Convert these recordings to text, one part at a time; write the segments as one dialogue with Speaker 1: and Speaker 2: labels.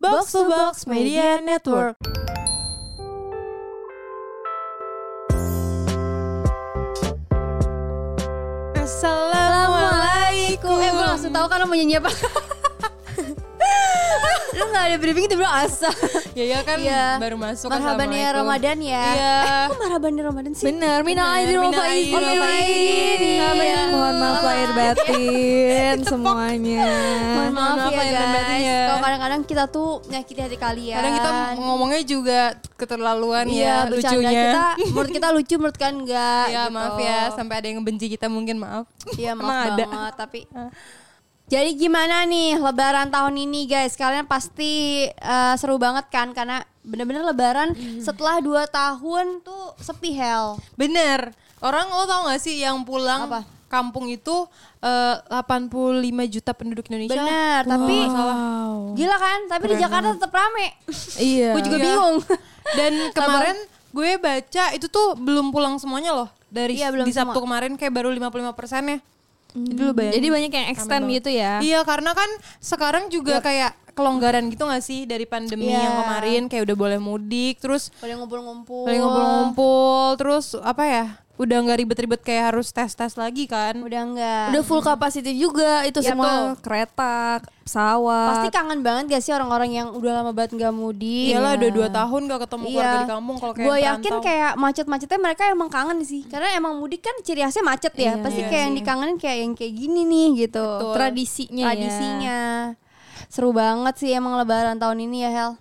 Speaker 1: Box to Box Media Network.
Speaker 2: Assalamualaikum.
Speaker 1: Assalamualaikum.
Speaker 2: Eh gue langsung tahu kan lo mau nyanyi apa. lo gak ada briefing tiba bilang asa.
Speaker 1: Ya ya kan
Speaker 2: Iya.
Speaker 1: baru masuk.
Speaker 2: Marhaban ya
Speaker 1: Assalamualaikum.
Speaker 2: Ramadan ya.
Speaker 1: Iya.
Speaker 2: Kok marhaban ya Ramadan sih?
Speaker 1: Bener, minal
Speaker 2: Bener,
Speaker 1: aidin wal
Speaker 2: minal
Speaker 1: faizin.
Speaker 2: aidin wal faizin.
Speaker 1: Iya.
Speaker 2: Iya.
Speaker 3: Mohon maaf lahir batin semuanya.
Speaker 2: Mohon
Speaker 1: Mohon
Speaker 2: maaf,
Speaker 1: maaf
Speaker 2: ya
Speaker 1: lahir dan
Speaker 2: guys.
Speaker 1: batin ya.
Speaker 2: Kalau kadang-kadang kita tuh nyakiti hati kalian.
Speaker 1: Kadang kita ngomongnya juga keterlaluan
Speaker 2: Iya,
Speaker 1: ya
Speaker 2: bercanda
Speaker 1: lucunya.
Speaker 2: kita, menurut kita lucu, menurut kalian enggak.
Speaker 1: Iya
Speaker 2: gitu.
Speaker 1: maaf ya sampai ada yang benci kita mungkin maaf.
Speaker 2: Iya
Speaker 1: Emang
Speaker 2: maaf
Speaker 1: ada.
Speaker 2: banget tapi Jadi gimana nih lebaran tahun ini guys Kalian pasti eh, seru banget kan Karena bener-bener lebaran
Speaker 1: Iya.
Speaker 2: setelah 2 tahun tuh sepi hell
Speaker 1: Bener. Orang lo tau gak sih yang pulang
Speaker 2: Apa?
Speaker 1: kampung itu eh, 85 juta penduduk Indonesia.
Speaker 2: Bener tapi
Speaker 1: Kalau nggak Iya. salah.
Speaker 2: gila kan Tapi di Jakarta tetap rame
Speaker 3: Iya.
Speaker 2: Gue juga
Speaker 1: Iya.
Speaker 2: bingung
Speaker 1: Dan kemarin gue baca itu tuh belum pulang semuanya loh dari
Speaker 2: Iya, belum
Speaker 1: di Sabtu
Speaker 2: semua. Hmm.
Speaker 1: kemarin kayak baru 55 persennya. Jadi lu bayangin.
Speaker 3: Jadi banyak yang extend gitu ya.
Speaker 1: Iya karena kan sekarang juga kayak kelonggaran gitu gak sih dari pandemi
Speaker 2: Iya.
Speaker 1: yang kemarin kayak udah boleh mudik terus
Speaker 2: Boleh ngumpul-ngumpul
Speaker 1: boleh ngumpul-ngumpul terus apa ya udah nggak ribet-ribet kayak harus tes-tes lagi kan
Speaker 2: Udah enggak
Speaker 3: Udah full capacity juga itu
Speaker 2: Iya
Speaker 3: semua kereta, pesawat.
Speaker 2: Pasti kan kangen banget gak sih orang-orang yang udah lama banget gak mudik
Speaker 1: Iyalah udah dua tahun gak ketemu keluarga di kampung kalau kayak
Speaker 2: Gue
Speaker 1: yang
Speaker 2: Iya. yakin
Speaker 1: perantau.
Speaker 2: kayak macet-macetnya mereka emang kangen sih Karena emang mudik kan ciri khasnya macet ya Pasti kayak yang dikangenin kayak yang kayak gini nih gitu
Speaker 1: Iya, Betul. Iya.
Speaker 3: tradisinya. ya.
Speaker 2: Tradisinya Seru banget sih emang lebaran tahun ini ya Hel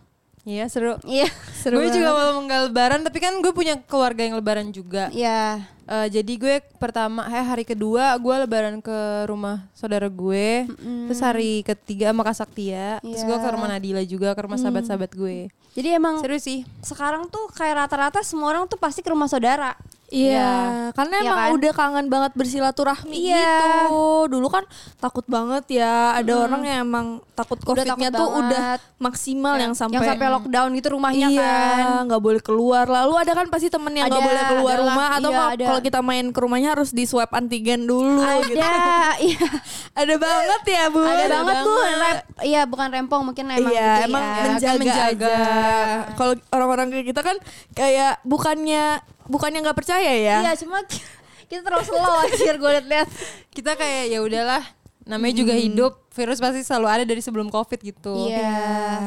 Speaker 1: Iya seru.
Speaker 2: Iya seru
Speaker 1: gue
Speaker 2: banget.
Speaker 1: juga mau nggak lebaran tapi kan gue punya keluarga yang lebaran juga.
Speaker 2: Iya
Speaker 1: Eh, jadi gue pertama eh hari kedua gue lebaran ke rumah saudara gue. Terus hari ketiga sama Kak Saktia. Terus gue ke
Speaker 2: Iya.
Speaker 1: rumah Nadila juga ke rumah
Speaker 3: Mm.
Speaker 1: sahabat-sahabat gue.
Speaker 2: Jadi
Speaker 3: Oh.
Speaker 2: emang
Speaker 1: Seru sih.
Speaker 2: sekarang tuh kayak rata-rata semua orang tuh pasti ke rumah saudara
Speaker 3: Iya,
Speaker 1: Iya.
Speaker 3: karena
Speaker 2: Iya
Speaker 3: emang
Speaker 2: kan?
Speaker 3: udah kangen banget bersilaturahmi
Speaker 2: Iya.
Speaker 3: gitu. Dulu kan takut banget ya, ada orang yang emang takut COVID-nya
Speaker 2: Hmm. takut
Speaker 3: tuh
Speaker 2: banget. Iya.
Speaker 3: udah maksimal
Speaker 1: Oh,
Speaker 3: yang sampai
Speaker 2: Yang sampai lockdown gitu rumahnya
Speaker 3: iya,
Speaker 2: kan
Speaker 3: nggak boleh keluar. Lalu ada kan pasti temen yang nggak
Speaker 2: Ada,
Speaker 3: boleh keluar
Speaker 2: ada lah.
Speaker 3: rumah atau
Speaker 2: Iya,
Speaker 3: mau-
Speaker 2: ada.
Speaker 3: kalau kita main ke rumahnya harus di swab antigen dulu gitu.
Speaker 2: Ada Iya
Speaker 3: Ada banget ya, Bu.
Speaker 2: Ada banget tuh
Speaker 3: banget.
Speaker 2: rep, Iya bukan rempong mungkin emang
Speaker 3: iya,
Speaker 2: gitu
Speaker 3: emang
Speaker 2: ya.
Speaker 1: men-
Speaker 3: menjaga,
Speaker 1: menjaga.
Speaker 3: aja. Kalau orang-orang kayak kita kan kayak bukannya bukannya nggak percaya ya.
Speaker 2: Iya cuma ki- kita terlalu slow anjir gue liat-liat
Speaker 1: Kita kayak ya udahlah namanya juga hidup virus pasti selalu ada dari sebelum covid gitu.
Speaker 2: Iya.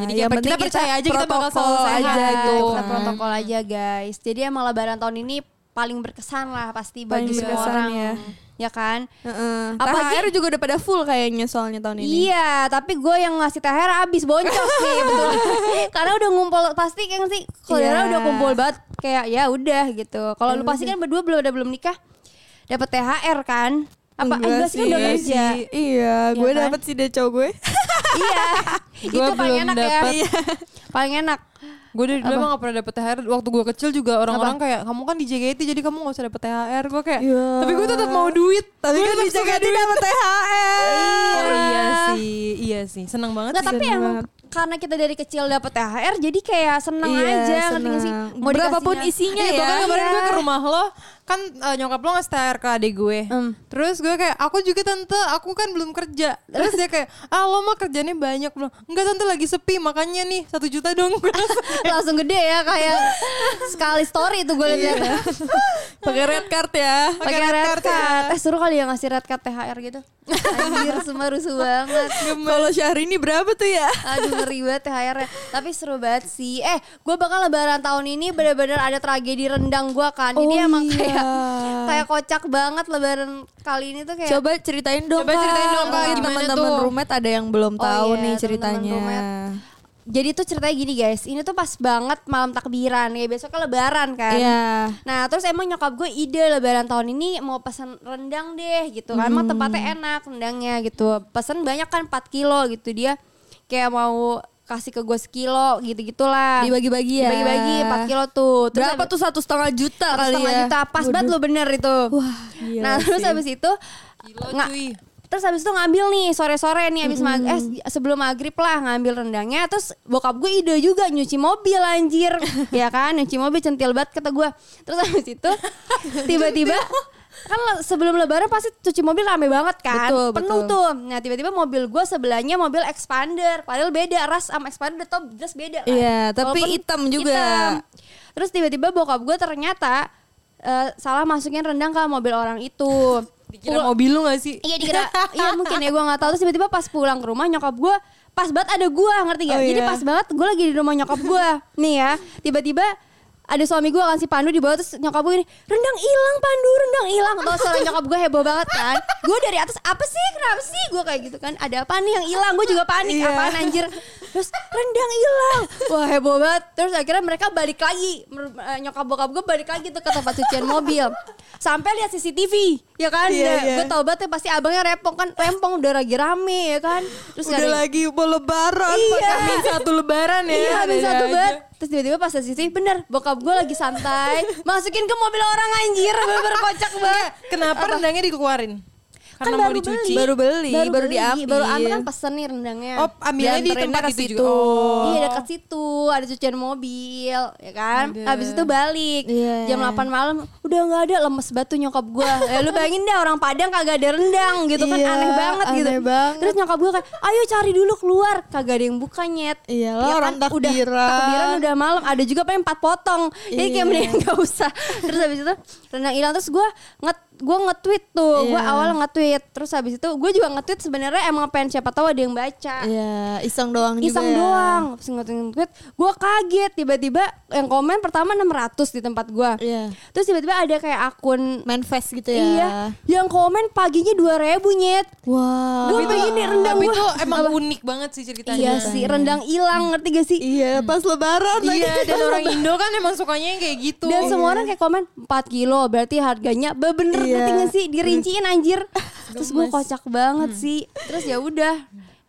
Speaker 1: Jadi
Speaker 3: Yang
Speaker 1: kayak
Speaker 3: penting
Speaker 1: kita
Speaker 3: kita
Speaker 1: percaya aja kita bakal selalu
Speaker 3: protokol
Speaker 1: sehat
Speaker 3: aja
Speaker 1: gitu.
Speaker 3: gitu
Speaker 2: Iya, Kita
Speaker 3: kan.
Speaker 2: protokol aja guys Jadi emang lebaran tahun ini paling berkesan lah pasti bagi
Speaker 3: Paling
Speaker 2: semua
Speaker 3: berkesan
Speaker 2: orang
Speaker 3: ya.
Speaker 2: Ya kan?
Speaker 3: Heeh.
Speaker 2: Apalagi-
Speaker 3: THR juga udah pada full kayaknya soalnya tahun ini.
Speaker 2: Iya, tapi gue yang ngasih THR abis boncos nih betul. Karena udah ngumpul pasti kan sih saudara
Speaker 3: Iya.
Speaker 2: udah kumpul banget kayak ya udah gitu. Kalau lu pasti kan berdua belum ada belum nikah dapat THR kan? Apa enggak, sih kan udah
Speaker 1: sih.
Speaker 2: kerja.
Speaker 3: Iya, gue
Speaker 2: kan?
Speaker 3: dapet sih deh cowok gue.
Speaker 2: iya.
Speaker 1: Gua
Speaker 2: Itu paling
Speaker 1: belum
Speaker 2: enak
Speaker 1: dapet.
Speaker 2: ya. Paling enak.
Speaker 1: Gue dari dulu emang gak pernah dapet THR Waktu gue kecil juga orang-orang kayak Kamu kan di JKT jadi kamu gak usah dapet THR Gue kayak
Speaker 3: Iya.
Speaker 1: Tapi gue tetap mau duit
Speaker 3: Tapi
Speaker 1: Gua
Speaker 3: kan
Speaker 1: tetap
Speaker 3: bisa
Speaker 1: suka
Speaker 3: ganti
Speaker 1: duit.
Speaker 3: dapet Thr.
Speaker 1: Oh iya sih Iya sih Seneng banget
Speaker 2: Nggak,
Speaker 1: sih
Speaker 2: tapi
Speaker 3: Seneng
Speaker 2: emang
Speaker 3: banget.
Speaker 2: karena kita dari kecil dapat THR jadi kayak seneng
Speaker 3: Iya,
Speaker 2: aja ngerti nggak sih?
Speaker 3: seneng.
Speaker 2: dikasihnya-
Speaker 3: Berapapun isinya
Speaker 1: Iya,
Speaker 3: ya.
Speaker 1: bahkan kemarin gue ke
Speaker 2: Iya.
Speaker 1: rumah lo kan eh, nyokap lo ngasih THR ke adik gue
Speaker 2: Hmm.
Speaker 1: terus gue kayak aku juga tante aku kan belum kerja terus dia kayak ah lo mah kerjanya banyak belum enggak tante lagi sepi makanya nih satu juta dong gue langsung
Speaker 2: langsung gede ya kayak sekali story tuh gue
Speaker 3: Iya,
Speaker 2: lihat
Speaker 3: Pakai red card ya.
Speaker 1: Pakai
Speaker 2: pakai
Speaker 1: red
Speaker 2: red,
Speaker 1: card
Speaker 2: card. Eh suruh kali ya ngasih red card THR gitu. Anjir semua rusuh banget.
Speaker 3: Kalau Syahrini berapa tuh ya?
Speaker 2: Aduh ngeri banget THR -nya. ya. Tapi seru banget sih Eh gue bakal lebaran tahun ini bener-bener ada tragedi rendang gue kan Ini
Speaker 3: Oh
Speaker 2: emang
Speaker 3: iya.
Speaker 2: kayak kayak kocak banget lebaran kali ini tuh kayak
Speaker 3: Iya. Coba ceritain dong.
Speaker 1: Coba
Speaker 3: Kak.
Speaker 1: ceritain dong, Kak,
Speaker 3: Mungkin
Speaker 1: gimana
Speaker 3: teman-teman
Speaker 1: tuh?
Speaker 3: rumet ada yang belum
Speaker 2: Oh
Speaker 3: tahu
Speaker 2: iya,
Speaker 3: nih
Speaker 2: teman-teman
Speaker 3: ceritanya.
Speaker 2: rumet. Jadi tuh ceritanya gini guys Ini tuh pas banget malam takbiran Ya besoknya lebaran kan
Speaker 3: Iya.
Speaker 2: Nah terus emang nyokap gue ide lebaran tahun ini mau pesan rendang deh gitu kan
Speaker 3: Hmm.
Speaker 2: Emang tempatnya enak rendangnya gitu Pesan banyak kan 4 kilo gitu Dia kayak mau kasih ke gue sekilo gitu-gitulah
Speaker 3: Dibagi-bagi ya.
Speaker 2: Dibagi-bagi 4 kilo tuh Terus
Speaker 3: Berapa
Speaker 2: abis-
Speaker 3: tuh satu setengah juta
Speaker 2: satu
Speaker 3: kali
Speaker 2: setengah
Speaker 3: ya?
Speaker 2: juta pas banget lu bener itu
Speaker 3: Wah, gila
Speaker 2: Nah terus
Speaker 3: sih.
Speaker 2: habis itu
Speaker 1: Gila,
Speaker 2: nga-
Speaker 1: cuy.
Speaker 2: Terus habis itu ngambil nih sore-sore nih habis mag- eh, sebelum maghrib lah ngambil rendangnya terus bokap gue ide juga nyuci mobil anjir ya kan nyuci mobil centil banget kata gue terus habis itu tiba-tiba kan le- sebelum lebaran pasti cuci mobil rame banget kan
Speaker 1: Betul,
Speaker 2: penuh
Speaker 1: betul.
Speaker 2: tuh nah tiba-tiba mobil gue sebelahnya mobil expander padahal beda ras sama expander tuh jelas beda kan
Speaker 3: Iya, tapi hitam juga.
Speaker 2: terus tiba-tiba bokap gue ternyata eh, salah masukin rendang ke mobil orang itu
Speaker 1: Kira mobil lu gak sih?
Speaker 2: Iya dikira, iya mungkin ya gue gak tahu Terus tiba-tiba pas pulang ke rumah nyokap gue Pas banget ada gue ngerti gak?
Speaker 3: Oh,
Speaker 2: Jadi
Speaker 3: iya.
Speaker 2: pas banget gue lagi di rumah nyokap gue Nih ya, tiba-tiba ada suami gue kan si Pandu di bawah terus nyokap gue gini rendang hilang Pandu rendang hilang tau suara nyokap gue heboh banget kan gue dari atas apa sih kenapa sih gue kayak gitu kan ada apa nih yang hilang gue juga panik
Speaker 3: Iya.
Speaker 2: apaan anjir terus rendang hilang wah heboh banget terus akhirnya mereka balik lagi Mer- eh, nyokap bokap gue balik lagi tuh ke tempat cucian mobil sampai lihat CCTV ya kan
Speaker 3: Iya, iya.
Speaker 2: gue tau banget ya pasti abangnya repong kan rempong udah lagi rame ya kan terus
Speaker 3: Udah
Speaker 2: nyari-
Speaker 3: lagi mau lebaran,
Speaker 2: Iya.
Speaker 3: Pak. Min satu lebaran ya.
Speaker 2: Iya habis
Speaker 3: ada
Speaker 2: satu
Speaker 3: aja.
Speaker 2: banget Terus tiba-tiba pas dari situ Bener bokap gue lagi santai Masukin ke mobil orang anjir Bener kocak banget
Speaker 1: Kenapa rendangnya dikeluarin?
Speaker 2: Kan
Speaker 1: Karena mau dicuci.
Speaker 3: Baru beli, baru
Speaker 2: beli,
Speaker 3: diambil.
Speaker 2: Baru ambil kan pesen nih rendangnya
Speaker 1: Oh, ambilnya di
Speaker 3: Dianterin
Speaker 1: tempat
Speaker 3: ke
Speaker 1: itu
Speaker 3: situ.
Speaker 1: juga. Oh.
Speaker 2: Iya dekat situ ada cucian mobil ya kan.
Speaker 1: Ada.
Speaker 2: Habis itu balik
Speaker 3: Iya.
Speaker 2: jam 8 malam udah nggak ada lemes batu nyokap gua. ya, lu bayangin dah orang Padang kagak ada rendang gitu kan
Speaker 3: Iya,
Speaker 2: aneh banget gitu.
Speaker 3: aneh banget.
Speaker 2: Terus nyokap gua kan ayo cari dulu keluar kagak ada yang buka nyet.
Speaker 3: Iyalah,
Speaker 2: Ya
Speaker 3: Iya, orang takbiran.
Speaker 2: Udah, takbiran udah malam ada juga pengen empat potong. Jadi kayak
Speaker 3: Iya.
Speaker 2: mendingan nggak usah. Terus habis itu rendang hilang terus gua nge gua nge-tweet tuh. Gua
Speaker 3: Iya.
Speaker 2: awal nge-tweet terus habis itu gua juga nge-tweet sebenarnya emang pengen siapa tahu ada yang baca
Speaker 3: Iya, iseng doang juga.
Speaker 2: iseng
Speaker 3: ya.
Speaker 2: doang Pas ngeliat-ngeliat, gue kaget tiba-tiba yang komen pertama 600 di tempat gue
Speaker 3: Iya.
Speaker 2: terus tiba-tiba ada kayak akun
Speaker 3: Manifest gitu ya.
Speaker 2: iya yang komen paginya 2000 nyet
Speaker 3: Wah.
Speaker 2: gue pengen nih rendang
Speaker 1: Tapi
Speaker 2: gua.
Speaker 1: itu emang unik banget sih ceritanya.
Speaker 2: iya sih rendang hilang ngerti gak sih
Speaker 3: Iya, pas lebaran lagi.
Speaker 1: Iya, dan orang Indo kan emang sukanya yang kayak gitu.
Speaker 2: dan semua orang kayak komen 4 kilo berarti harganya bener
Speaker 3: Iya.
Speaker 2: ngerti gak sih dirinciin anjir terus gue kocak banget sih terus ya udah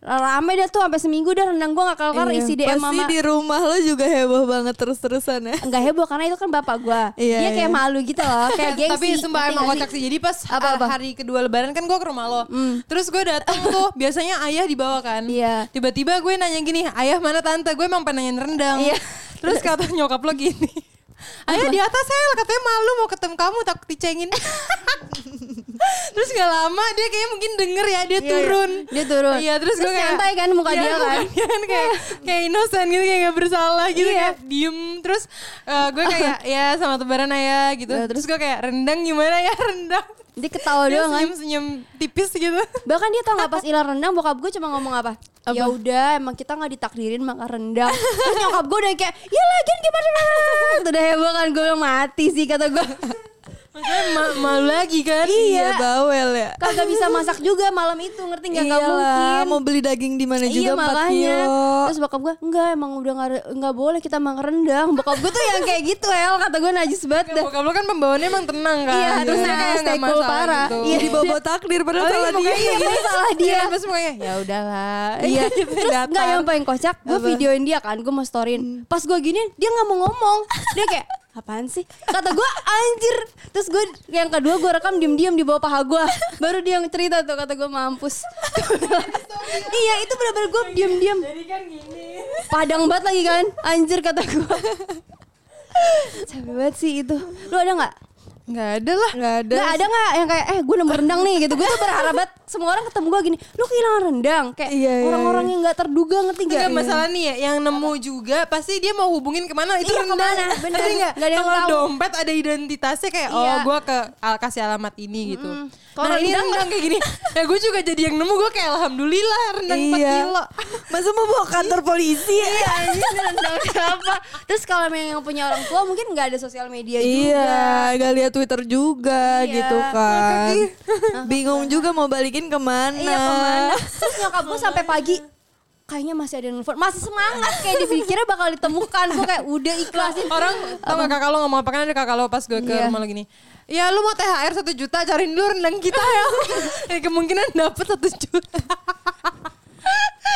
Speaker 2: rame dah tuh sampai seminggu dah rendang gue gak kelar
Speaker 3: Iya,
Speaker 2: isi DM
Speaker 3: Pasti
Speaker 2: mama
Speaker 3: di rumah lo juga heboh banget terus-terusan ya.
Speaker 2: Enggak heboh karena itu kan bapak gua.
Speaker 3: Iya,
Speaker 2: dia kayak
Speaker 3: iya.
Speaker 2: malu gitu loh, kayak gengsi.
Speaker 1: tapi sumpah
Speaker 2: ngerti
Speaker 1: emang
Speaker 2: nggak
Speaker 1: kocak
Speaker 2: sih?
Speaker 1: sih jadi pas
Speaker 2: Apa-apa?
Speaker 1: hari kedua lebaran kan gue ke rumah lo terus gue datang tuh biasanya ayah dibawa kan
Speaker 2: Hmm. Iya.
Speaker 1: tiba-tiba gue nanya gini ayah mana tante gue emang pengen nanyain rendang
Speaker 2: Iya.
Speaker 1: terus kata nyokap lo gini Ayah di atas sel katanya malu mau ketemu kamu takut dicengin terus gak lama dia kayaknya mungkin denger ya dia
Speaker 2: Iya,
Speaker 1: turun
Speaker 2: iya. Dia turun.
Speaker 1: iya terus gue
Speaker 2: Terus
Speaker 1: kayak
Speaker 2: nyantai kan muka
Speaker 1: Iya,
Speaker 2: dia kan.
Speaker 1: mukanya kan kayak kayak innocent gitu kayak gak bersalah gitu
Speaker 2: Iya.
Speaker 1: kayak diem terus eh, gue kayak ya sama tebaran ya gitu
Speaker 2: Iya,
Speaker 1: terus Oh, gue kayak rendang gimana ya rendang
Speaker 2: Dia ketawa
Speaker 1: dia
Speaker 2: doang kan.
Speaker 1: senyum senyum tipis gitu
Speaker 2: Bahkan dia tau gak pas ilang rendang bokap gue cuma ngomong apa? Ya udah emang kita gak ditakdirin makan rendang. Terus nyokap gue udah kayak, ya lagian gimana? Udah heboh kan gue bilang mati sih kata gue.
Speaker 1: maksudnya ma- malu lagi kan
Speaker 2: Iya.
Speaker 3: bawel ya.
Speaker 2: Kagak bisa masak juga malam itu ngerti gak? Gak mungkin.
Speaker 3: Iyalah, mau beli daging di mana
Speaker 2: iya
Speaker 3: juga 4
Speaker 2: makanya
Speaker 3: kilo.
Speaker 2: terus bokap gue enggak emang udah nggak ada- nggak boleh kita makan rendang bokap gue tuh yang kayak gitu El kata gue najis banget dah
Speaker 1: Bokap lo kan pembawaannya emang tenang kan
Speaker 2: Iya,
Speaker 1: Terus dia
Speaker 2: tenang,
Speaker 1: kayak nggak
Speaker 2: stay cool
Speaker 1: masalah
Speaker 2: parah.
Speaker 1: gitu.
Speaker 3: Iya, dibawa takdir padahal
Speaker 1: Oh, iya,
Speaker 3: salah dia.
Speaker 1: mukanya gini.
Speaker 2: Salah dia.
Speaker 1: Iya, terus mukanya ya udahlah
Speaker 2: Iya,
Speaker 1: Gitu,
Speaker 2: Eh, terus
Speaker 1: datang.
Speaker 2: nggak yang paling kocak, gue
Speaker 3: Apa?
Speaker 2: videoin dia kan, gue mau storyin. Pas gue gini, dia nggak mau ngomong, dia kayak apaan sih? Kata gue anjir. Terus gue yang kedua gue rekam diem-diem di bawah paha gue, baru dia yang cerita tuh kata gue mampus. iya itu benar-benar gue diem-diem.
Speaker 1: jadi kan gini
Speaker 2: Padang banget lagi kan, anjir kata gue. Capek banget sih itu. Lu ada nggak?
Speaker 1: nggak ada lah
Speaker 3: Enggak ada.
Speaker 2: Nggak ada nggak yang kayak eh gue nemu rendang nih gitu Gue tuh berharap banget semua orang ketemu gue gini Lu kehilangan rendang Kayak
Speaker 3: Iya, iya,
Speaker 2: orang-orang
Speaker 3: iya.
Speaker 2: yang nggak terduga ngerti gak?
Speaker 1: Enggak masalah nih ya, yang nemu juga pasti dia mau hubungin kemana itu
Speaker 2: Iya,
Speaker 1: rendang.
Speaker 2: kemana, bener.
Speaker 1: Ngerti nggak?
Speaker 2: Nggak ada yang
Speaker 1: Kalau
Speaker 2: tahu.
Speaker 1: dompet ada identitasnya kayak
Speaker 2: Iya.
Speaker 1: oh gue ke al- kasih alamat ini gitu.
Speaker 2: Kalau
Speaker 1: Nah ini
Speaker 2: rendang-
Speaker 1: rendang kayak gini, ya gue juga jadi yang nemu gue kayak alhamdulillah rendang 4 kilo.
Speaker 3: Masa mau bawa kantor polisi ya?
Speaker 2: Iya anjing ini rendang siapa Terus kalau yang yang punya orang tua mungkin nggak ada sosial media juga
Speaker 3: Iya, gak lihat Twitter juga
Speaker 2: Iya.
Speaker 3: gitu kan. Bingung juga mau balikin kemana.
Speaker 2: Iya kemana Terus nyokap gue sampai pagi Kayaknya masih ada yang nelfon Masih semangat kayak dipikirnya bakal ditemukan Gue kayak udah ikhlasin
Speaker 1: Orang tau gak kakak lo ngomong apa kan ada kakak lo pas gue ke
Speaker 2: Iya.
Speaker 1: rumah lo gini. Ya lu mau THR 1 juta cariin dulu rendang kita ya. ya kemungkinan dapet 1 juta.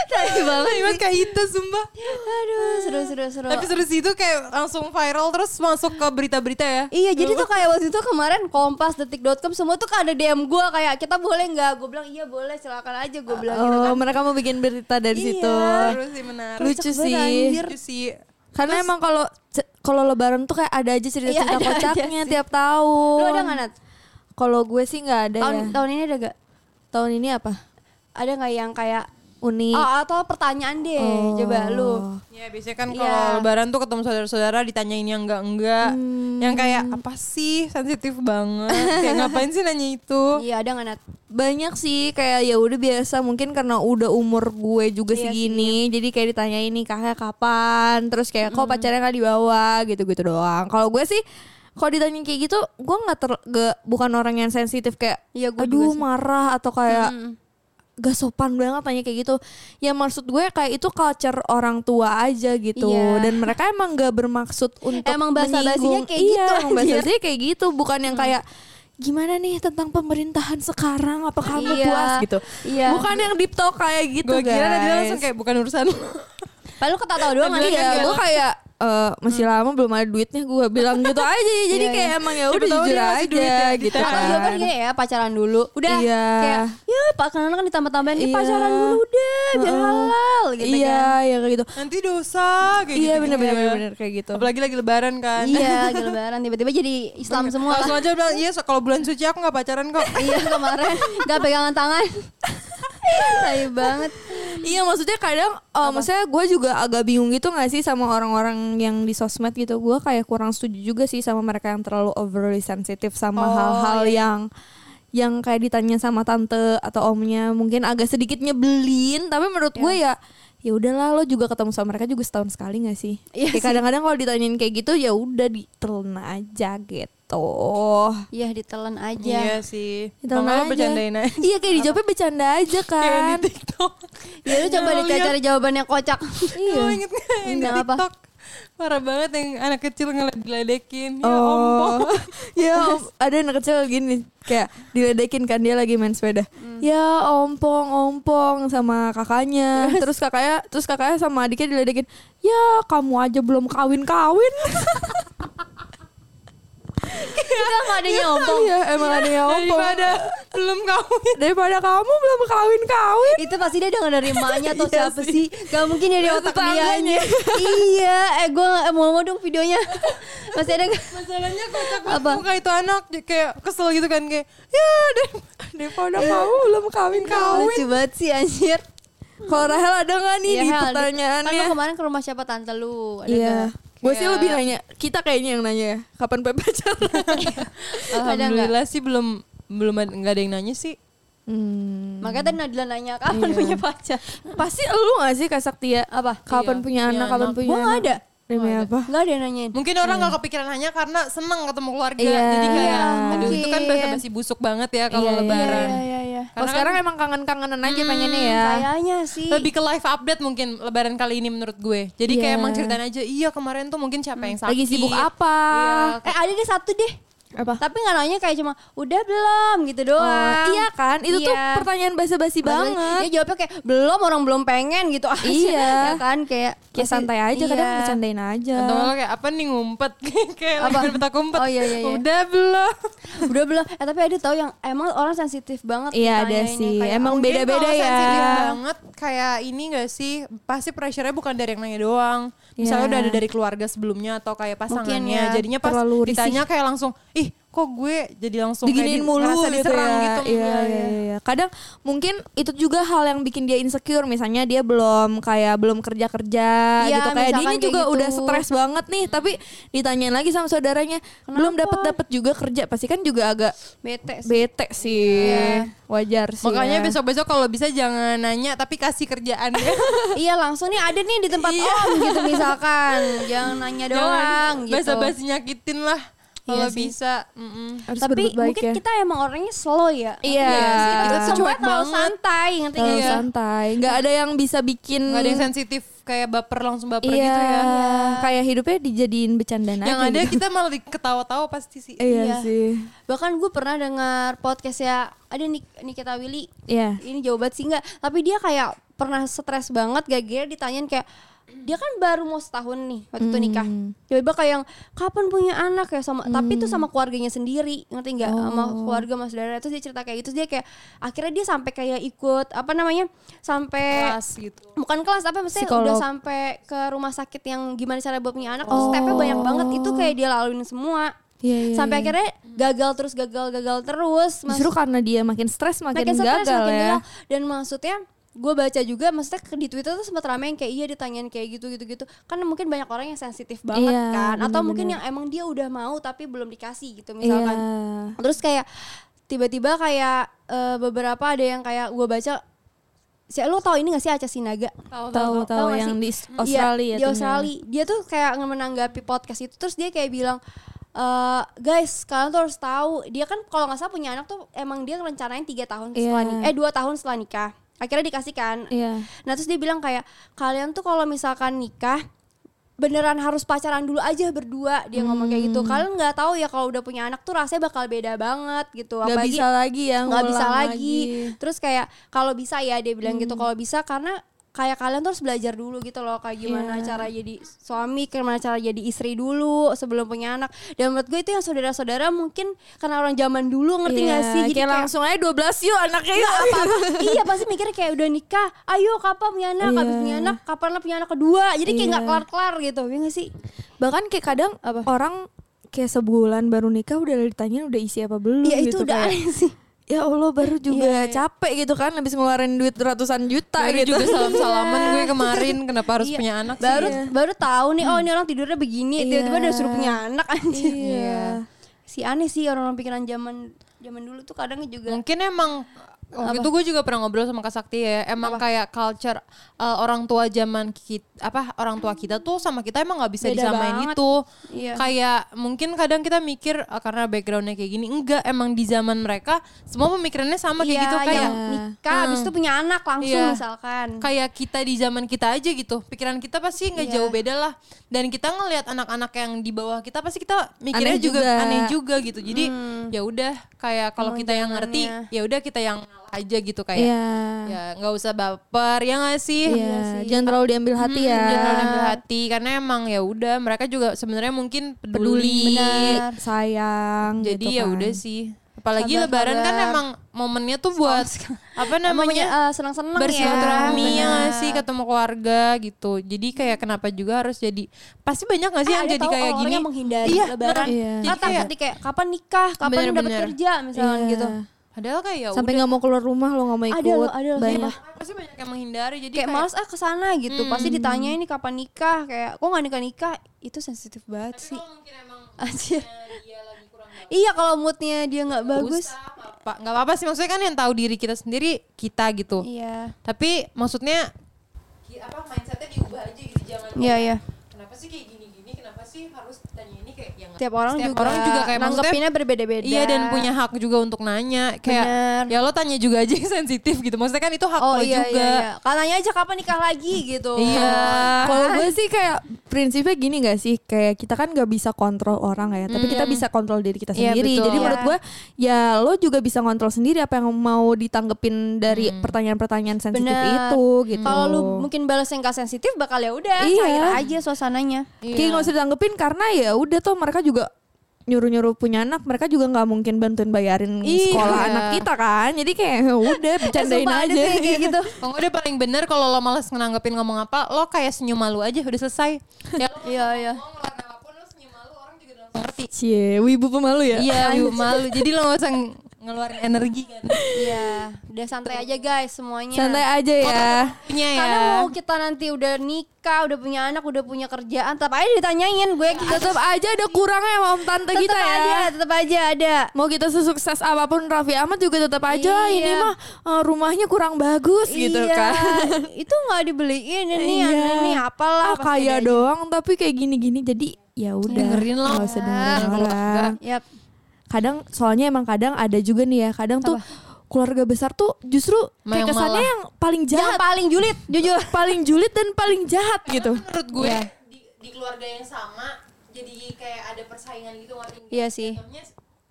Speaker 2: Tai banget
Speaker 1: Iya, Mas, kayak itu sumpah.
Speaker 2: Aduh seru seru seru
Speaker 1: Tapi terus itu kayak langsung viral terus masuk ke berita-berita ya.
Speaker 2: Iya jadi tuh kayak waktu itu kemarin Kompas, Detik.com semua tuh ada DM gue kayak kita boleh nggak? Gue bilang iya boleh silakan aja gue bilang gitu
Speaker 3: Oh,
Speaker 2: kan.
Speaker 3: mereka mau bikin berita dari
Speaker 2: Iya.
Speaker 3: situ.
Speaker 1: Seru sih menarik.
Speaker 3: Lucu
Speaker 2: Kocak banget,
Speaker 3: sih.
Speaker 2: anjir.
Speaker 1: Lucu sih.
Speaker 3: Karena emang kalau kalau lebaran tuh kayak ada aja cerita-cerita
Speaker 2: Iya, ada aja
Speaker 3: kocaknya
Speaker 2: sih.
Speaker 3: tiap tahun.
Speaker 2: Lu ada nggak Nat?
Speaker 3: Kalau gue sih nggak ada
Speaker 2: tahun
Speaker 3: ya.
Speaker 2: tahun ini ada gak
Speaker 3: Tahun ini apa?
Speaker 2: ada nggak yang kayak
Speaker 3: Unik.
Speaker 2: oh, atau pertanyaan deh
Speaker 3: Oh.
Speaker 2: coba lu
Speaker 1: Ya biasanya kan
Speaker 2: Iya.
Speaker 1: kalau lebaran tuh ketemu saudara-saudara ditanyain yang enggak-enggak. Yang kayak apa sih sensitif banget. kayak ngapain sih nanya itu.
Speaker 2: iya ada nggak Nat?
Speaker 3: Banyak sih kayak ya udah biasa mungkin karena udah umur gue juga
Speaker 2: Iya
Speaker 3: segini. Jadi kayak ditanya ini kakak kapan, terus kayak kok pacarnya nggak dibawa gitu-gitu doang. Kalau gue sih kalau ditanya kayak gitu, gue nggak ter, nggak- bukan orang yang sensitif kayak,
Speaker 2: Iya, gue juga Mm.
Speaker 3: aduh
Speaker 2: sih."
Speaker 3: marah atau kayak
Speaker 2: Mm-mm.
Speaker 3: gak sopan banget tanya kayak gitu. Ya maksud gue kayak itu culture orang tua aja gitu.
Speaker 2: Iya.
Speaker 3: Dan mereka emang gak bermaksud untuk
Speaker 2: Emang basa-basinya
Speaker 3: menyinggung.
Speaker 2: kayak
Speaker 3: iya,
Speaker 2: gitu,
Speaker 3: Emang
Speaker 2: anjir. Hmm.
Speaker 3: basa-basinya kayak gitu, bukan yang kayak gimana nih tentang pemerintahan sekarang apa kamu
Speaker 2: Iya.
Speaker 3: puas gitu.
Speaker 2: Iya.
Speaker 3: Bukan yang deep talk kayak gitu
Speaker 1: Gue kira tadi
Speaker 3: guys.
Speaker 1: langsung kayak bukan urusan lu.
Speaker 2: Padahal lu ketawa doang kan
Speaker 3: Iya,
Speaker 2: kan?
Speaker 3: gue kayak eh, masih lama belum ada duitnya gue bilang gitu aja
Speaker 2: Hmm.
Speaker 3: jadi
Speaker 2: Iya,
Speaker 3: kayak emang ya
Speaker 1: Siapa
Speaker 3: udah
Speaker 1: tahu
Speaker 3: jujur
Speaker 1: dia masih
Speaker 3: aja
Speaker 1: duit ya, di
Speaker 3: gitu
Speaker 1: tangan.
Speaker 2: Atau jawaban
Speaker 3: kan.
Speaker 2: gini ya pacaran dulu. Udah
Speaker 3: Iya.
Speaker 2: kayak ya pak karena kan ditambah-tambahin "Ih,
Speaker 3: Iya.
Speaker 2: pacaran dulu udah biar
Speaker 3: Heeh.
Speaker 2: halal gitu
Speaker 3: Iya,
Speaker 2: kan.
Speaker 3: ya kayak gitu.
Speaker 1: Nanti dosa kayak
Speaker 3: Iya
Speaker 1: gitu.
Speaker 3: bener-bener bener-bener kayak gitu.
Speaker 1: Apalagi lagi lebaran kan.
Speaker 2: Iya, gila lebaran tiba-tiba jadi Islam semua.
Speaker 1: Langsung aja bilang, iya so- kalau bulan suci aku gak pacaran kok.
Speaker 2: iya kemarin nggak pegangan tangan. Tai banget.
Speaker 3: Iya maksudnya kadang eh, maksudnya gue juga agak bingung gitu gak sih sama orang-orang yang di sosmed gitu gue kayak kurang setuju juga sih sama mereka yang terlalu overly sensitif sama
Speaker 1: Oh,
Speaker 3: hal-hal yang yang kayak ditanya sama tante atau omnya mungkin agak sedikit nyebelin tapi menurut gue ya ya udahlah lo juga ketemu sama mereka juga setahun sekali gak sih?
Speaker 2: Iya
Speaker 3: Kayak kadang-kadang kalau ditanyain kayak gitu ya udah ditelena aja gitu.
Speaker 2: Iya ditelan aja.
Speaker 1: Iya sih. Kalau
Speaker 3: Ditelan
Speaker 1: nggak
Speaker 3: aja.
Speaker 1: lo bercandain aja.
Speaker 3: Iya kayak dijawabnya bercanda aja
Speaker 1: Kayak
Speaker 3: kan.
Speaker 1: di TikTok.
Speaker 2: Ya lu coba
Speaker 1: Yang liat-
Speaker 2: dicari jawabannya kocak.
Speaker 1: Iya. Lo inget gak yang di
Speaker 2: Enggak apa.
Speaker 1: TikTok? Parah banget yang anak kecil ngeledekin. Ya
Speaker 3: Oh,
Speaker 1: ompong.
Speaker 3: ya om- ada anak kecil gini kayak diledekin kan dia lagi main sepeda. Ya ompong ompong sama kakaknya. Terus kakaknya, terus kakaknya sama adiknya diledekin. Ya kamu aja belum kawin kawin.
Speaker 2: Enggak enggak ada nyompong.
Speaker 3: Iya emang ada yang ompong.
Speaker 1: Daripada belum kawin.
Speaker 3: Daripada kamu belum kawin kawin.
Speaker 2: itu pasti dia denger dari emaknya atau
Speaker 1: Iya
Speaker 2: siapa sih.
Speaker 1: sih.
Speaker 2: Gak mungkin dari
Speaker 1: Dari
Speaker 2: otak
Speaker 1: tetangganya.
Speaker 2: dia iya eh gue mau mau dong videonya masih ada gak?
Speaker 1: Masalahnya kocak banget
Speaker 2: Apa?
Speaker 1: muka itu anak dia kayak kesel gitu kan kayak ya deh
Speaker 3: Daripada kamu belum kawin kawin.
Speaker 2: lucu banget sih anjir
Speaker 3: Kalau Rahel ada nggak nih
Speaker 2: Iya,
Speaker 3: di
Speaker 2: Hel, di-
Speaker 3: pertanyaannya?
Speaker 2: Kan lu kemarin ke rumah siapa tante lu? Ada
Speaker 3: Iya.
Speaker 2: nggak?
Speaker 3: Gue sih
Speaker 1: Kayak-
Speaker 3: lebih nanya, kita kayaknya yang nanya ya, kapan Pepe pacaran?
Speaker 1: alhamdulillah sih belum belum ad- nggak ada yang nanya sih
Speaker 3: hmm.
Speaker 2: Makanya tadi Nadila nanya kapan
Speaker 3: Iya.
Speaker 2: punya pacar.
Speaker 3: Pasti lu gak sih Kak Saktia?
Speaker 2: Apa?
Speaker 1: Iya,
Speaker 3: Kapan punya
Speaker 1: punya
Speaker 3: anak, kapan
Speaker 1: anak.
Speaker 3: punya
Speaker 2: Gue nggak
Speaker 3: anak?
Speaker 2: ada.
Speaker 3: Demi apa?
Speaker 2: Gak ada yang nanyain.
Speaker 1: mungkin orang nggak kepikiran hanya karena seneng ketemu keluarga
Speaker 3: Iya.
Speaker 1: jadi kayak
Speaker 3: Iya,
Speaker 1: aduh itu kan
Speaker 2: mungkin.
Speaker 1: bahasa basi busuk banget ya kalau
Speaker 3: Iya, iya,
Speaker 1: lebaran
Speaker 2: Iya iya iya.
Speaker 3: Kalau
Speaker 1: Karena kan
Speaker 3: sekarang emang kangen-kangenan aja pengennya ya.
Speaker 2: Kayaknya sih.
Speaker 1: lebih ke live update mungkin lebaran kali ini menurut gue jadi
Speaker 3: Iya.
Speaker 1: kayak emang ceritain aja iya kemarin tuh mungkin siapa yang sakit
Speaker 3: Lagi sibuk apa?
Speaker 2: Eh ada deh satu deh.
Speaker 3: Apa?
Speaker 2: Tapi nggak nanya kayak cuma udah belum gitu
Speaker 3: Oh,
Speaker 2: doang.
Speaker 3: iya kan? Itu tuh
Speaker 2: Iya.
Speaker 3: pertanyaan basa-basi
Speaker 2: Dia
Speaker 3: banget.
Speaker 2: jawabnya kayak belum orang belum pengen gitu aja.
Speaker 3: Iya.
Speaker 2: ya kan kayak
Speaker 3: Kayak
Speaker 2: masih-
Speaker 3: santai aja, kadang
Speaker 2: iya.
Speaker 3: bercandain aja.
Speaker 1: atau nggak kayak apa nih ngumpet kayak
Speaker 2: Apa?
Speaker 1: lebaran petak umpet
Speaker 2: Oh, iya, iya, iya.
Speaker 1: udah belum
Speaker 2: Udah belum. Eh tapi ada tahu yang emang orang sensitif banget
Speaker 3: Iya, ada
Speaker 2: ditanyainnya.
Speaker 3: sih.
Speaker 2: Kayak,
Speaker 3: Emang
Speaker 1: Mungkin
Speaker 3: beda-beda
Speaker 1: kalau
Speaker 3: ya.
Speaker 1: sensitif banget kayak ini gak sih pasti pressure-nya bukan dari yang nanya doang misalnya
Speaker 3: Iya.
Speaker 1: udah ada dari keluarga sebelumnya atau kayak pasangannya
Speaker 2: ya,
Speaker 1: jadinya pas
Speaker 3: terlalu risih.
Speaker 1: ditanya kayak langsung ih kok gue jadi langsung kayak
Speaker 3: diginiin
Speaker 1: di-
Speaker 3: mulu
Speaker 1: ngerasa
Speaker 3: gitu
Speaker 1: diserang
Speaker 3: ya.
Speaker 1: gitu
Speaker 3: Iya, iya, iya, iya. Kadang mungkin itu juga hal yang bikin dia insecure. Misalnya dia belum kayak belum kerja-kerja
Speaker 2: Iya,
Speaker 3: gitu. Kayak dia
Speaker 2: misalkan
Speaker 3: ini
Speaker 2: kayak
Speaker 3: juga
Speaker 2: gitu.
Speaker 3: udah stres banget nih, tapi ditanyain lagi sama saudaranya, belum dapat-dapat juga kerja. Pasti kan juga agak
Speaker 2: bete sih.
Speaker 3: bete sih.
Speaker 2: Iya.
Speaker 3: Wajar sih.
Speaker 1: Iya. makanya
Speaker 3: ya.
Speaker 1: besok-besok kalau bisa jangan nanya tapi kasih kerjaan ya
Speaker 2: iya langsung nih ada nih di tempat
Speaker 3: Iya.
Speaker 2: om gitu misalkan. Jangan nanya doang
Speaker 1: jangan
Speaker 2: gitu.
Speaker 1: basa-basi nyakitin lah kalau
Speaker 2: Iya sih.
Speaker 1: bisa mm-mm.
Speaker 3: Harus
Speaker 2: Tapi
Speaker 3: berbuat baik
Speaker 2: mungkin
Speaker 3: ya.
Speaker 2: kita emang orangnya slow ya.
Speaker 3: Iya.
Speaker 2: Kita
Speaker 1: Kita tuh
Speaker 2: semua
Speaker 1: cuek
Speaker 2: terlalu
Speaker 1: banget.
Speaker 2: santai ngerti Iya.
Speaker 3: Terlalu
Speaker 2: gak sih?
Speaker 3: santai. Nggak ada yang bisa bikin
Speaker 1: nggak ada yang sensitif kayak baper langsung baper
Speaker 3: Iya,
Speaker 1: gitu ya
Speaker 3: kayak hidupnya dijadiin bercandaan
Speaker 1: yang
Speaker 3: aja
Speaker 1: ada
Speaker 3: gitu.
Speaker 1: kita malah diketawa-tawa pasti sih
Speaker 3: Iya,
Speaker 2: Iya.
Speaker 3: sih.
Speaker 2: Bahkan gue pernah dengar podcast ya ada Nik- Nikita Willy.
Speaker 3: Iya.
Speaker 2: Ini jauh banget sih enggak, tapi dia kayak pernah stres banget gara-gara ditanyain kayak dia kan baru mau setahun nih waktu itu nikah.
Speaker 3: Hmm.
Speaker 2: Tiba-tiba kayak yang kapan punya anak ya sama tapi itu sama keluarganya sendiri, ngerti nggak? Sama
Speaker 3: Oh.
Speaker 2: keluarga sama saudara terus dia cerita kayak gitu Terus dia kayak akhirnya dia sampai kayak ikut apa namanya? sampai
Speaker 1: kelas gitu
Speaker 2: bukan kelas apa maksudnya
Speaker 3: Psikolog.
Speaker 2: udah sampai ke rumah sakit yang gimana cara buat punya anak terus stepnya banyak banget itu kayak dia laluin semua
Speaker 3: Iya, Oh. iya,
Speaker 2: sampai
Speaker 3: iya.
Speaker 2: akhirnya gagal terus gagal gagal terus Mas-
Speaker 3: Justru karena dia makin stres makin, gagal
Speaker 2: stres, makin
Speaker 3: ya.
Speaker 2: gagal. dan maksudnya gue baca juga maksudnya ke- di Twitter tuh sempat rame yang kayak iya ditanyain kayak gitu gitu gitu kan mungkin banyak orang yang sensitif banget
Speaker 3: Iya,
Speaker 2: kan atau mungkin
Speaker 3: bener-bener.
Speaker 2: yang emang dia udah mau tapi belum dikasih gitu
Speaker 3: Iya.
Speaker 2: misalkan terus kayak tiba-tiba kayak eh, beberapa ada yang kayak gue baca si lu tau ini gak sih Aca Sinaga
Speaker 3: Tahu tahu
Speaker 2: nggak sih?
Speaker 3: yang di
Speaker 2: Iya,
Speaker 3: Australia
Speaker 2: di Australia dia tuh kayak nge- menanggapi podcast itu terus dia kayak bilang "Eh, guys kalian tuh harus tahu dia kan kalau nggak salah punya anak tuh emang dia rencanain tiga tahun setelah
Speaker 3: Iya.
Speaker 2: nikah eh dua tahun setelah nikah akhirnya dikasih kan
Speaker 3: Iya.
Speaker 2: nah terus dia bilang kayak kalian tuh kalau misalkan nikah beneran harus pacaran dulu aja berdua dia ngomong kayak
Speaker 3: Hmm.
Speaker 2: gitu kalian nggak tahu ya kalau udah punya anak tuh rasanya bakal beda banget gitu
Speaker 3: Gak
Speaker 2: apalagi
Speaker 3: bisa lagi Hmm. ya
Speaker 2: nggak
Speaker 3: ngulang
Speaker 2: bisa lagi. Terus kayak kalau bisa ya dia bilang gitu kalau bisa karena kayak kalian tuh harus belajar dulu gitu loh kayak gimana
Speaker 3: Iya.
Speaker 2: cara jadi suami, gimana cara jadi istri dulu sebelum punya anak. Dan menurut gue itu yang saudara-saudara mungkin karena orang zaman dulu ngerti
Speaker 3: Iya,
Speaker 2: nggak sih? Jadi
Speaker 3: kayak
Speaker 2: kayak-
Speaker 3: langsung aja 12 yuk anaknya yuk.
Speaker 2: iya pasti mikirnya kayak udah nikah, ayo kapan punya anak,
Speaker 3: Iya.
Speaker 2: habis punya anak, kapan lah punya anak kedua. Jadi kayak
Speaker 3: Iya.
Speaker 2: nggak kelar-kelar gitu, ya nggak sih?
Speaker 3: Bahkan kayak kadang
Speaker 2: Apa?
Speaker 3: orang kayak sebulan baru nikah udah ditanyain udah isi apa
Speaker 1: Hmm,
Speaker 3: belum
Speaker 2: Iya itu
Speaker 3: gitu
Speaker 2: udah
Speaker 3: kayak,
Speaker 2: aneh Iya, sih.
Speaker 3: ya Allah baru juga capek gitu kan habis ngeluarin duit ratusan juta
Speaker 1: Baru
Speaker 3: gitu
Speaker 1: juga salam-salaman gue kemarin kenapa harus
Speaker 2: Iya,
Speaker 1: punya anak sih?
Speaker 2: baru baru tahu nih oh ini orang tidurnya begini
Speaker 3: Iya.
Speaker 2: tiba-tiba udah suruh punya anak anjir
Speaker 3: Iya.
Speaker 2: si aneh sih orang-orang pikiran zaman zaman dulu tuh kadang juga
Speaker 1: Mungkin emang waktu itu gue juga pernah ngobrol sama Kak Sakti ya. Emang kayak culture uh, orang tua zaman kita apa orang tua kita tuh sama kita emang nggak bisa
Speaker 2: Beda
Speaker 1: disamain
Speaker 2: banget.
Speaker 1: itu.
Speaker 2: Iya.
Speaker 1: Kayak mungkin kadang kita mikir "Ah, karena backgroundnya kayak gini enggak emang di zaman mereka semua pemikirannya sama kayak
Speaker 2: Iya,
Speaker 1: gitu kayak
Speaker 2: yang nikah habis itu punya anak langsung
Speaker 1: Iya.
Speaker 2: misalkan
Speaker 1: kayak kita di zaman kita aja gitu pikiran kita pasti nggak
Speaker 2: Iya.
Speaker 1: jauh beda lah dan kita ngelihat anak-anak yang di bawah kita pasti kita mikirnya
Speaker 3: Aneh
Speaker 1: juga,
Speaker 3: juga. Hmm. Oh,
Speaker 1: aneh juga gitu jadi ya udah kayak kalau kita yang ngerti
Speaker 2: jalannya.
Speaker 1: ya udah kita yang ngalah aja gitu kayak
Speaker 3: Iya.
Speaker 1: ya nggak usah baper ya nggak sih Hmm,
Speaker 3: Iya, jangan terlalu diambil hati
Speaker 2: Hmm,
Speaker 3: ya.
Speaker 2: iya,
Speaker 1: Jangan terlalu ambil hati karena emang ya udah mereka juga sebenarnya mungkin peduli,
Speaker 3: Benar. Sayang.
Speaker 1: jadi
Speaker 3: gitu
Speaker 1: ya
Speaker 3: kan.
Speaker 1: udah sih apalagi
Speaker 2: Sabar,
Speaker 1: lebaran kan
Speaker 2: sabar.
Speaker 1: emang momennya tuh buat apa namanya
Speaker 2: namanya Eh, senang-senang
Speaker 1: bersilaturahmi
Speaker 2: ya
Speaker 1: ya nggak sih ketemu keluarga gitu jadi kayak kenapa juga harus jadi pasti banyak
Speaker 2: Ah,
Speaker 1: gak sih yang jadi kayak gini
Speaker 2: menghindari
Speaker 1: iya
Speaker 2: lebaran
Speaker 1: beneran.
Speaker 3: Iya.
Speaker 1: jadi kayak
Speaker 2: Karena takut nih kayak kapan nikah kapan dapat
Speaker 1: Bener-bener.
Speaker 2: kerja misalnya
Speaker 3: Iya.
Speaker 2: gitu
Speaker 1: padahal kayak ya
Speaker 3: Sampai nggak mau keluar rumah lo nggak mau ikut.
Speaker 2: Ada lo, ada Iya. lo,
Speaker 3: banyak.
Speaker 1: udah, pasti banyak yang menghindari jadi
Speaker 2: Ah. kayak males ah kesana gitu pasti
Speaker 1: Hmm.
Speaker 2: ditanya ini kapan nikah kayak kok nggak nikah nikah itu sensitif banget sih Ah.
Speaker 1: mungkin emang
Speaker 2: Anjir.
Speaker 1: dia lagi kurang
Speaker 2: Iya kalau moodnya dia nggak bagus.
Speaker 1: apa nggak apa-apa sih maksudnya kan yang tahu diri kita sendiri kita gitu
Speaker 2: Iya.
Speaker 1: tapi maksudnya ki- apa mindsetnya diubah aja gitu jangan
Speaker 2: Iya iya.
Speaker 1: kenapa sih kayak gini-gini kenapa sih harus tanya ini kayak yang
Speaker 2: Tiap orang
Speaker 1: Setiap
Speaker 2: juga
Speaker 1: orang juga kayak maksudnya-
Speaker 2: nanggepinnya berbeda-beda.
Speaker 1: Iya dan punya hak juga untuk nanya
Speaker 2: Bener.
Speaker 1: kayak ya lo tanya juga aja yang sensitif gitu maksudnya kan itu hak
Speaker 2: Oh
Speaker 1: lo
Speaker 2: iya
Speaker 1: juga
Speaker 2: iya. iya. Katanya aja kapan nikah lagi gitu.
Speaker 1: Iya.
Speaker 3: Kalau gue sih kayak prinsipnya gini gak sih kayak kita kan gak bisa kontrol orang ya, tapi kita bisa kontrol diri kita
Speaker 1: Iya,
Speaker 3: sendiri.
Speaker 1: betul.
Speaker 3: Jadi
Speaker 1: Iya.
Speaker 3: menurut gue ya lo juga bisa kontrol sendiri apa yang mau ditanggepin dari pertanyaan-pertanyaan sensitif
Speaker 2: Bener.
Speaker 3: itu gitu.
Speaker 2: Kan. Kalau lu mungkin balas yang gak sensitif bakal ya udah
Speaker 3: Iya.
Speaker 2: cair aja suasananya.
Speaker 3: kayak
Speaker 2: iya.
Speaker 3: gak usah ditanggepin karena ya udah tuh mereka juga nyuruh-nyuruh punya anak mereka juga nggak mungkin bantuin bayarin
Speaker 2: Iya.
Speaker 3: sekolah anak kita kan jadi kayak ya udah bercandain
Speaker 2: Sumpah ada
Speaker 3: aja
Speaker 2: tuh yang kayak gitu.
Speaker 1: Kalau nggak udah paling bener kalau lo malas nanggepin ngomong apa lo kayak senyum malu aja udah selesai ya lo
Speaker 2: Iya iya.
Speaker 1: ngomong ngeliat apapun lo senyum malu orang juga udah langsung ngerti
Speaker 3: Cie, wibu pemalu ya
Speaker 1: iya ibu malu jadi lo nggak usah ng- ngeluarin energi kan
Speaker 2: Iya. Udah santai aja guys semuanya.
Speaker 3: santai aja ya
Speaker 1: punya ya
Speaker 2: Karena mau kita nanti udah nikah, udah punya anak, udah punya kerjaan, tetap aja ditanyain gue kita
Speaker 3: tetap aja ada kurangnya sama om tante
Speaker 2: Iya. tetap
Speaker 3: kita ya
Speaker 2: aja, tetap aja ada.
Speaker 3: mau kita sesukses apapun Raffi Ahmad juga tetap
Speaker 2: Iya.
Speaker 3: aja ini mah eh, rumahnya kurang bagus
Speaker 2: iya,
Speaker 3: gitu kan
Speaker 2: itu nggak dibeliin ini
Speaker 3: Iya.
Speaker 2: ini apalah
Speaker 3: ah, kaya
Speaker 2: gitu.
Speaker 3: doang tapi kayak gini-gini jadi ya udah
Speaker 1: Dengerin lo.
Speaker 3: nggak usah dengerin
Speaker 1: Kalau
Speaker 3: orang
Speaker 2: Yap.
Speaker 3: kadang soalnya emang kadang ada juga nih ya kadang tuh keluarga besar tuh justru
Speaker 1: Ma- yang
Speaker 3: kayak kesannya
Speaker 1: malah.
Speaker 3: yang paling
Speaker 2: Yang
Speaker 3: jahat
Speaker 2: paling julid jujur.
Speaker 3: paling julid dan paling jahat gitu
Speaker 1: menurut gue
Speaker 2: Iya.
Speaker 1: di, di keluarga yang sama jadi kayak ada persaingan gitu ngerti nggak?
Speaker 2: Iya sih.
Speaker 1: Jatuhnya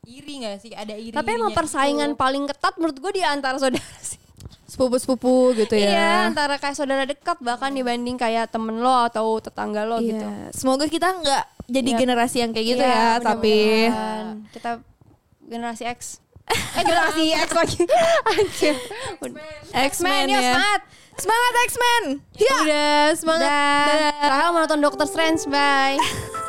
Speaker 1: iri gak sih ada iri gitu.
Speaker 2: Tapi emang persaingan paling ketat menurut gue di antara saudara sih.
Speaker 3: sepupu-sepupu gitu ya
Speaker 2: Iya, antara kayak saudara dekat bahkan dibanding kayak temen lo atau tetangga lo
Speaker 3: Iya.
Speaker 2: gitu.
Speaker 3: semoga kita nggak jadi
Speaker 2: Iya.
Speaker 3: generasi yang kayak gitu
Speaker 2: Iya,
Speaker 3: ya tapi
Speaker 2: mudah-mudahan. kita generasi X. Eh generasi X lagi. Anjir.
Speaker 3: X-Men
Speaker 2: ya,
Speaker 3: ya
Speaker 2: semangat.
Speaker 3: semangat X-Men ya
Speaker 1: udah semangat
Speaker 2: Dah. Rahel mau nonton Doctor Strange, bye.